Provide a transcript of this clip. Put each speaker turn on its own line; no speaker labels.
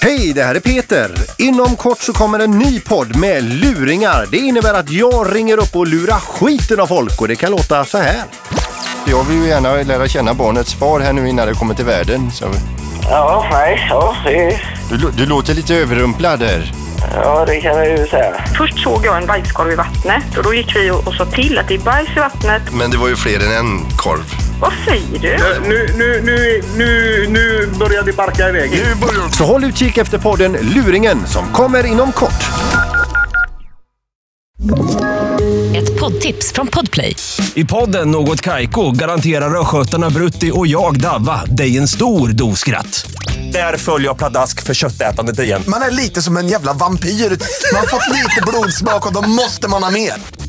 Hej, det här är Peter. Inom kort så kommer en ny podd med luringar. Det innebär att jag ringer upp och lurar skiten av folk och det kan låta så här. Jag vill ju gärna lära känna barnets far här nu innan det kommer till världen. Så...
Ja, nej, ja, det,
Du, lå- du låter lite överrumplad där.
ja, det kan jag ju säga.
Först såg jag en bajskorv i vattnet och då gick vi och och sa till att det är bajs i vattnet.
Men det var ju fler än en korv.
Vad säger du?
Nu, nu, nu, nu, nu börjar det barka iväg.
Så håll utkik efter podden Luringen som kommer inom kort.
Ett poddtips från Podplay.
I podden Något Kaiko garanterar östgötarna Brutti och jag, Davva, dig en stor dos skratt. Där följer jag pladask för köttätandet igen.
Man är lite som en jävla vampyr. Man har fått lite blodsmak och då måste man ha mer.